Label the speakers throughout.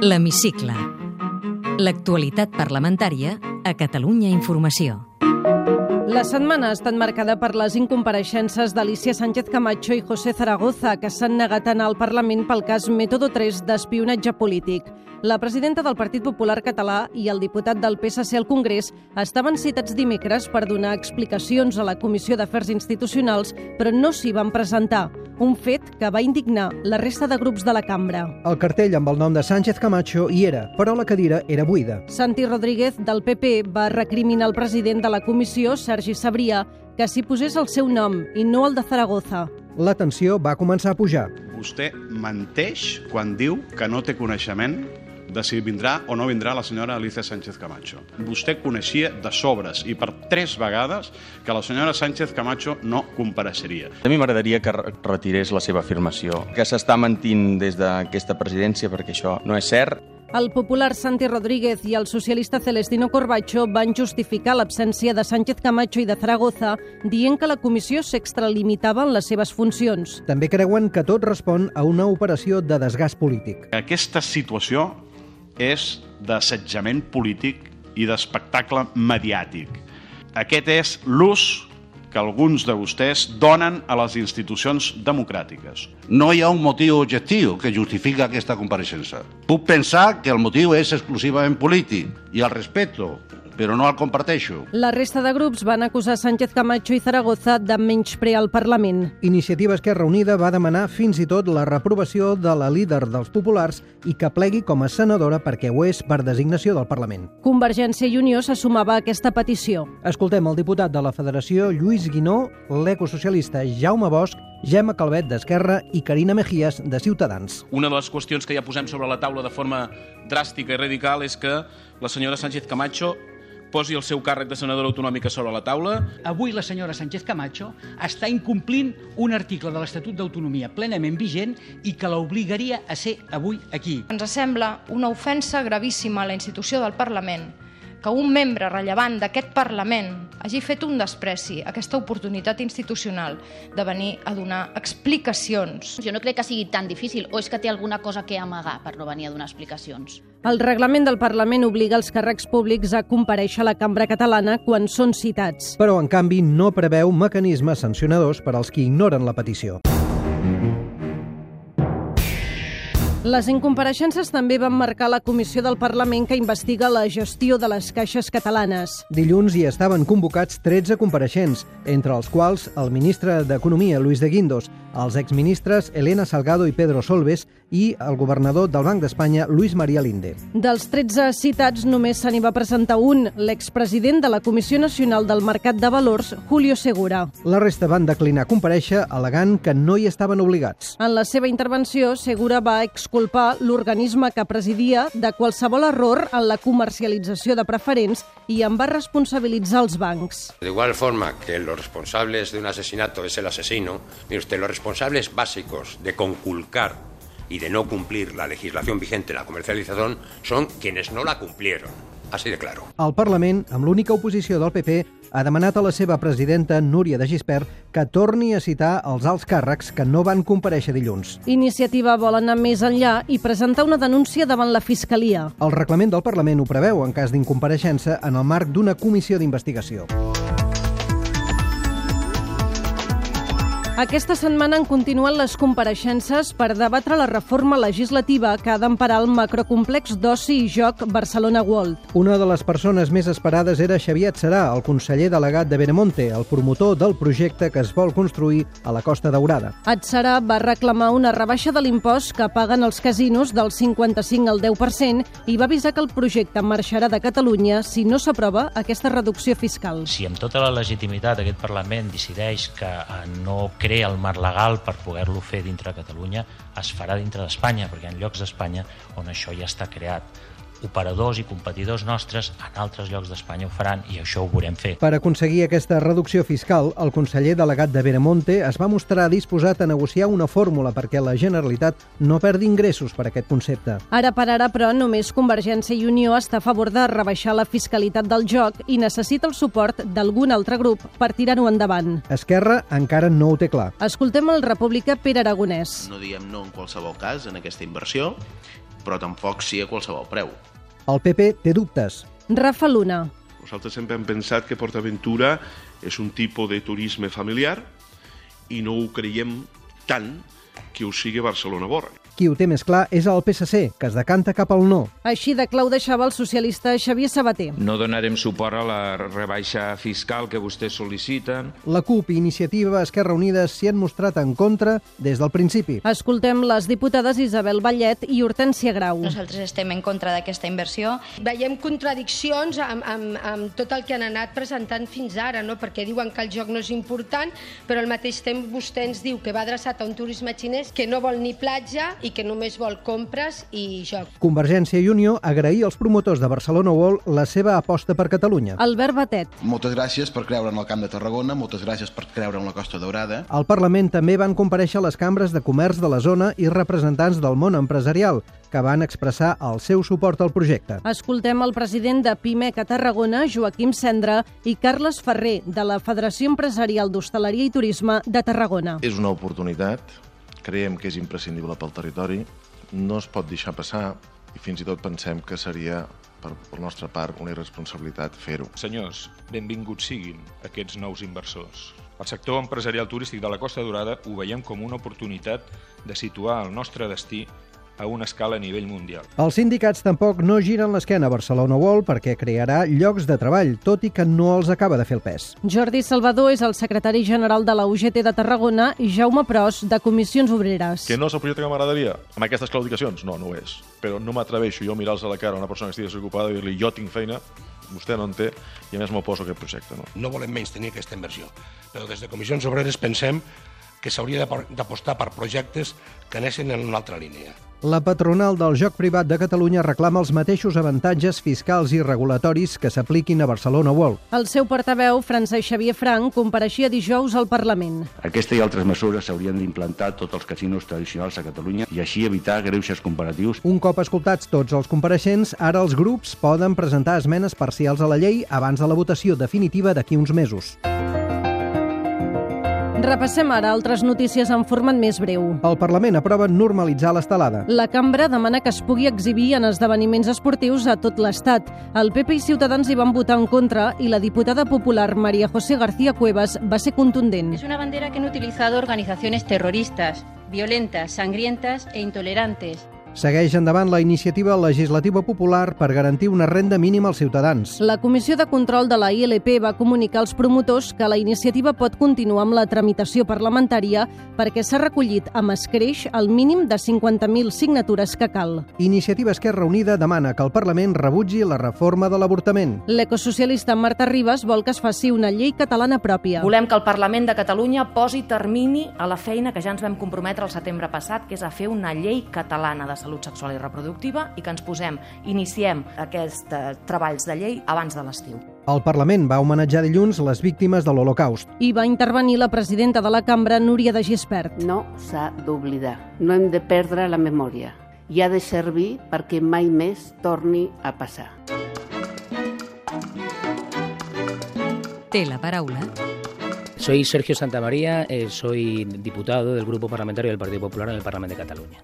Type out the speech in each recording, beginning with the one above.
Speaker 1: L'Hemicicle. L'actualitat parlamentària a Catalunya Informació.
Speaker 2: La setmana ha estat marcada per les incompareixences d'Alicia Sánchez Camacho i José Zaragoza, que s'han negat a anar al Parlament pel cas Método 3 d'espionatge polític. La presidenta del Partit Popular Català i el diputat del PSC al Congrés estaven citats dimecres per donar explicacions a la Comissió d'Afers Institucionals, però no s'hi van presentar, un fet que va indignar la resta de grups de la cambra.
Speaker 3: El cartell amb el nom de Sánchez Camacho hi era, però la cadira era buida.
Speaker 2: Santi Rodríguez, del PP, va recriminar el president de la comissió, Sergi Sabrià, que s'hi posés el seu nom i no el de Zaragoza.
Speaker 3: La tensió va començar a pujar.
Speaker 4: Vostè menteix quan diu que no té coneixement de si vindrà o no vindrà la senyora Alicia Sánchez Camacho. Vostè coneixia de sobres i per tres vegades que la senyora Sánchez Camacho no compareixeria.
Speaker 5: A mi m'agradaria que re- retirés la seva afirmació, que s'està mentint des d'aquesta presidència perquè això no és cert.
Speaker 2: El popular Santi Rodríguez i el socialista Celestino Corbacho van justificar l'absència de Sánchez Camacho i de Zaragoza dient que la comissió s'extralimitava en les seves funcions.
Speaker 3: També creuen que tot respon a una operació de desgast polític.
Speaker 4: Aquesta situació és d'assetjament polític i d'espectacle mediàtic. Aquest és l'ús que alguns de vostès donen a les institucions democràtiques.
Speaker 6: No hi ha un motiu objectiu que justifica aquesta compareixença. Puc pensar que el motiu és exclusivament polític i el respecto, però no el comparteixo.
Speaker 2: La resta de grups van acusar Sánchez Camacho i Zaragoza de menysprear el Parlament.
Speaker 3: Iniciativa Esquerra Unida va demanar fins i tot la reprovació de la líder dels populars i que plegui com a senadora perquè ho és per designació del Parlament.
Speaker 2: Convergència i Unió se sumava a aquesta petició.
Speaker 3: Escoltem el diputat de la Federació, Lluís Guinó, l'ecosocialista Jaume Bosch, Gemma Calvet d'Esquerra i Carina Mejías de Ciutadans.
Speaker 7: Una de les qüestions que ja posem sobre la taula de forma dràstica i radical és que la senyora Sánchez Camacho posi el seu càrrec de senadora autonòmica sobre la taula.
Speaker 8: Avui la senyora Sánchez Camacho està incomplint un article de l'Estatut d'Autonomia plenament vigent i que l'obligaria a ser avui aquí.
Speaker 9: Ens sembla una ofensa gravíssima a la institució del Parlament que un membre rellevant d'aquest Parlament hagi fet un despreci a aquesta oportunitat institucional de venir a donar explicacions.
Speaker 10: Jo no crec que sigui tan difícil, o és que té alguna cosa que amagar per no venir a donar explicacions.
Speaker 2: El reglament del Parlament obliga els càrrecs públics a compareixer a la cambra catalana quan són citats.
Speaker 3: Però, en canvi, no preveu mecanismes sancionadors per als qui ignoren la petició.
Speaker 2: Les incompareixences també van marcar la comissió del Parlament que investiga la gestió de les caixes catalanes.
Speaker 3: Dilluns hi estaven convocats 13 compareixents, entre els quals el ministre d'Economia, Luis de Guindos, els exministres Elena Salgado i Pedro Solbes i el governador del Banc d'Espanya, Luis María Linde.
Speaker 2: Dels 13 citats, només se n'hi va presentar un, l'expresident de la Comissió Nacional del Mercat de Valors, Julio Segura.
Speaker 3: La resta van declinar compareixer, al·legant que no hi estaven obligats.
Speaker 2: En la seva intervenció, Segura va exculpar l'organisme que presidia de qualsevol error en la comercialització de preferents i en va responsabilitzar els bancs.
Speaker 11: De igual forma que los responsables de un asesinato es el asesino, mire usted, los responsables básicos de conculcar y de no cumplir la legislación vigente en la comercialización son quienes no la cumplieron. Así de claro.
Speaker 3: El Parlament, amb l'única oposició del PP, ha demanat a la seva presidenta, Núria de Gispert, que torni a citar els alts càrrecs que no van compareixer dilluns.
Speaker 2: Iniciativa vol anar més enllà i presentar una denúncia davant la Fiscalia.
Speaker 3: El reglament del Parlament ho preveu en cas d'incompareixença en el marc d'una comissió d'investigació.
Speaker 2: Aquesta setmana han continuat les compareixences per debatre la reforma legislativa que ha d'emparar el macrocomplex d'oci i joc Barcelona World.
Speaker 3: Una de les persones més esperades era Xavier Serà, el conseller delegat de Benemonte, el promotor del projecte que es vol construir a la Costa Daurada.
Speaker 2: Atzara va reclamar una rebaixa de l'impost que paguen els casinos del 55 al 10% i va avisar que el projecte marxarà de Catalunya si no s'aprova aquesta reducció fiscal.
Speaker 12: si amb tota la legitimitat aquest Parlament decideix que eh, no crea el marc legal per poder-lo fer dintre de Catalunya, es farà dintre d'Espanya, perquè hi ha llocs d'Espanya on això ja està creat. Operadors i competidors nostres en altres llocs d'Espanya ho faran i això ho veurem fer.
Speaker 3: Per aconseguir aquesta reducció fiscal, el conseller delegat de Benemonte es va mostrar disposat a negociar una fórmula perquè la Generalitat no perdi ingressos per aquest concepte.
Speaker 2: Ara per ara, però, només Convergència i Unió està a favor de rebaixar la fiscalitat del joc i necessita el suport d'algun altre grup per tirar-ho endavant.
Speaker 3: Esquerra encara no ho té clar.
Speaker 2: Escoltem el república Pere Aragonès.
Speaker 7: No diem no en qualsevol cas en aquesta inversió
Speaker 13: però tampoc sí a qualsevol preu.
Speaker 3: El PP té dubtes.
Speaker 2: Rafa Luna.
Speaker 14: Nosaltres sempre hem pensat que PortAventura és un tipus de turisme familiar i no ho creiem tant que ho sigui Barcelona Borra.
Speaker 3: Qui ho té més clar és el PSC, que es decanta cap al no.
Speaker 2: Així de clau deixava el socialista Xavier Sabater.
Speaker 15: No donarem suport a la rebaixa fiscal que vostès sol·liciten.
Speaker 3: La CUP i Iniciativa Esquerra Unida s'hi han mostrat en contra des del principi.
Speaker 2: Escoltem les diputades Isabel Vallet i Hortènsia Grau.
Speaker 16: Nosaltres estem en contra d'aquesta inversió.
Speaker 17: Mm. Veiem contradiccions amb, amb, amb tot el que han anat presentant fins ara, no? perquè diuen que el joc no és important, però al mateix temps vostè ens diu que va adreçat a un turisme xinès que no vol ni platja i que només vol compres i joc.
Speaker 3: Convergència i Unió agrair als promotors de Barcelona World la seva aposta per Catalunya.
Speaker 2: Albert Batet.
Speaker 18: Moltes gràcies per creure en el Camp de Tarragona, moltes gràcies per creure en la Costa Daurada.
Speaker 3: Al Parlament també van compareixer les cambres de comerç de la zona i representants del món empresarial, que van expressar el seu suport al projecte.
Speaker 2: Escoltem el president de Pimec a Tarragona, Joaquim Cendra, i Carles Ferrer, de la Federació Empresarial d'Hostaleria i Turisme de Tarragona.
Speaker 19: És una oportunitat creiem que és imprescindible pel territori, no es pot deixar passar i fins i tot pensem que seria per, per nostra part una irresponsabilitat fer-ho.
Speaker 20: Senyors, benvinguts siguin aquests nous inversors. El sector empresarial turístic de la Costa Dorada ho veiem com una oportunitat de situar el nostre destí a una escala a nivell mundial.
Speaker 3: Els sindicats tampoc no giren l'esquena a Barcelona World perquè crearà llocs de treball, tot i que no els acaba de fer el pes.
Speaker 2: Jordi Salvador és el secretari general de la UGT de Tarragona i Jaume Pros, de Comissions Obreres.
Speaker 21: Que no és el projecte que m'agradaria? Amb aquestes claudicacions? No, no ho és. Però no m'atreveixo jo a mirar-los a la cara a una persona que estigui desocupada i dir-li jo tinc feina vostè no en té i a més m'oposo a aquest projecte. No,
Speaker 22: no volem menys tenir aquesta inversió, però des de Comissions Obreres pensem que s'hauria d'apostar per projectes que anessin en una altra línia.
Speaker 3: La patronal del joc privat de Catalunya reclama els mateixos avantatges fiscals i regulatoris que s'apliquin a Barcelona World.
Speaker 2: El seu portaveu, Francesc Xavier Frank, compareixia dijous al Parlament.
Speaker 23: Aquesta i altres mesures s'haurien d'implantar tots els casinos tradicionals a Catalunya i així evitar greuges comparatius.
Speaker 3: Un cop escoltats tots els compareixents, ara els grups poden presentar esmenes parcials a la llei abans de la votació definitiva d'aquí uns mesos.
Speaker 2: Repassem ara altres notícies en format més breu.
Speaker 3: El Parlament aprova normalitzar l'estelada.
Speaker 2: La cambra demana que es pugui exhibir en esdeveniments esportius a tot l'estat. El PP i Ciutadans hi van votar en contra i la diputada popular María José García Cuevas va ser contundent.
Speaker 24: És una bandera que han utilizado organizaciones terroristas, violentas, sangrientas e intolerantes.
Speaker 3: Segueix endavant la iniciativa legislativa popular per garantir una renda mínima als ciutadans.
Speaker 2: La Comissió de Control de la ILP va comunicar als promotors que la iniciativa pot continuar amb la tramitació parlamentària perquè s'ha recollit amb escreix el mínim de 50.000 signatures que cal.
Speaker 3: Iniciativa Esquerra Unida demana que el Parlament rebutgi la reforma de l'avortament.
Speaker 2: L'ecosocialista Marta Ribas vol que es faci una llei catalana pròpia.
Speaker 25: Volem que el Parlament de Catalunya posi termini a la feina que ja ens vam comprometre el setembre passat, que és a fer una llei catalana de salut salut sexual i reproductiva i que ens posem, iniciem aquests eh, treballs de llei abans de l'estiu.
Speaker 3: El Parlament va homenatjar dilluns les víctimes de l'Holocaust.
Speaker 2: I va intervenir la presidenta de la cambra, Núria de Gispert.
Speaker 26: No s'ha d'oblidar, no hem de perdre la memòria i ha de servir perquè mai més torni a passar.
Speaker 1: Té la paraula
Speaker 27: Soy Sergio Santamaría, eh, soy diputado del Grupo Parlamentario del Partido Popular en el Parlamento de Cataluña.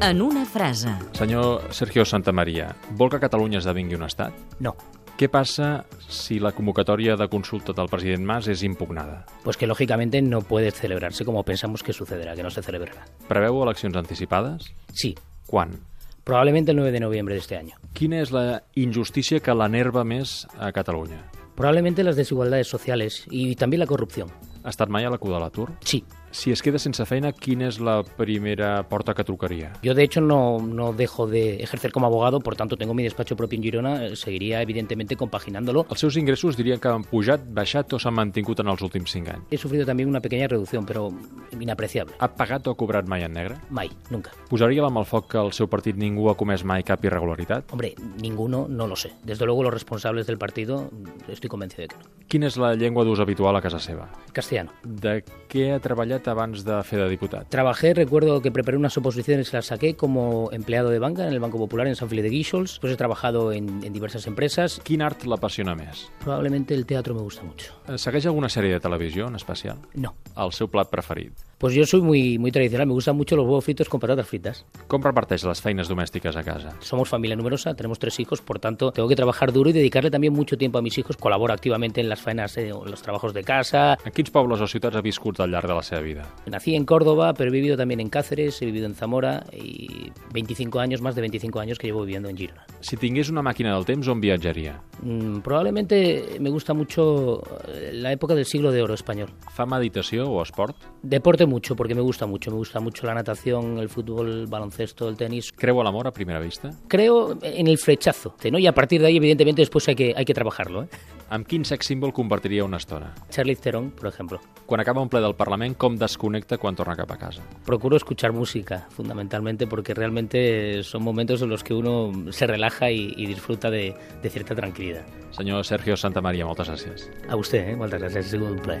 Speaker 1: En una frase.
Speaker 28: Senyor Sergio Santamaria, vol que Catalunya esdevingui un estat?
Speaker 27: No.
Speaker 28: Què passa si la convocatòria de consulta del president Mas és impugnada?
Speaker 27: Pues que lógicamente no puede celebrarse como pensamos que sucederá, que no se celebrará.
Speaker 28: Preveu eleccions anticipades?
Speaker 27: Sí.
Speaker 28: Quan?
Speaker 27: Probablemente el 9 de noviembre de este año.
Speaker 28: Quina és
Speaker 27: Eh,
Speaker 28: la injustícia que l'enerva més a Catalunya?
Speaker 27: Probablemente las desigualdades sociales y también la corrupción.
Speaker 28: Ha estat mai a la cua de l'atur?
Speaker 27: Sí.
Speaker 28: Si es queda sense feina, ¿quién es la primera porta que trucaría?
Speaker 27: Yo, de hecho, no, no dejo de ejercer como abogado, por tanto, tengo mi despacho propio en Girona, eh, seguiría, evidentemente, compaginándolo.
Speaker 28: Els seus ingressos dirien que han pujat, baixat o s'han mantingut en els últims 5 anys.
Speaker 27: He sufrido también una pequeña reducción, pero inapreciable.
Speaker 28: Ha pagat o cobrat mai en negre?
Speaker 27: Mai, nunca.
Speaker 28: Posaria la mà al foc que el seu partit ningú ha comès mai cap irregularitat?
Speaker 27: Hombre, ninguno, no lo sé. Desde luego, los responsables del partido, estoy convencido de que no.
Speaker 28: Quina és la llengua d'ús habitual a casa seva?
Speaker 27: Castellano.
Speaker 28: De què ha treballat abans de fer de diputat?
Speaker 27: Trabajé, recuerdo que preparé unas oposiciones, las saqué como empleado de banca en el Banco Popular en San Felipe de Guíxols. Pues he trabajado en, en diversas empresas.
Speaker 28: Quin art l'apassiona més? Eh,
Speaker 27: Probablemente el teatro me gusta mucho.
Speaker 28: Segueix alguna sèrie de televisió en especial?
Speaker 27: No.
Speaker 28: El seu plat preferit?
Speaker 27: Pues yo soy muy, muy tradicional, me gustan mucho los huevos fritos con patatas fritas.
Speaker 28: Com reparteix les feines domèstiques a casa?
Speaker 27: Somos familia numerosa, tenemos tres hijos, por tanto tengo que trabajar duro y dedicarle también mucho tiempo a mis hijos. Colaboro activamente en las faenas, eh, o en los trabajos de casa.
Speaker 28: En quins pobles o ciutats ha viscut al llarg de la seva vida?
Speaker 27: Nací en Córdoba, pero he vivido también en Cáceres, he vivido en Zamora y 25 años, más de 25 años que llevo viviendo en Girona.
Speaker 28: Si tingués una màquina del temps, on viatjaria?
Speaker 27: Mm, Probablemente me gusta mucho eh, la época del siglo de oro español.
Speaker 28: Fa meditació o esport?
Speaker 27: Deporte mucho, porque me gusta mucho. Me gusta mucho la natación, el fútbol, el baloncesto, el tenis.
Speaker 28: Creu a l'amor a primera vista?
Speaker 27: Creo en el flechazo, ¿no? Y a partir de ahí, evidentemente, después hay que, hay que trabajarlo, ¿eh?
Speaker 28: Amb quin sex símbol compartiria una estona?
Speaker 27: Charlize Theron, por ejemplo.
Speaker 28: Quan acaba un ple del Parlament, com desconnecta quan torna cap a casa?
Speaker 27: Procuro escuchar música, fundamentalmente, porque realmente son momentos en los que uno se relaja y, y disfruta de, de cierta tranquilidad.
Speaker 28: Senyor Sergio Santamaria, moltes gràcies.
Speaker 27: A usted, ¿eh? Moltes gràcies, ha sigut un plaer.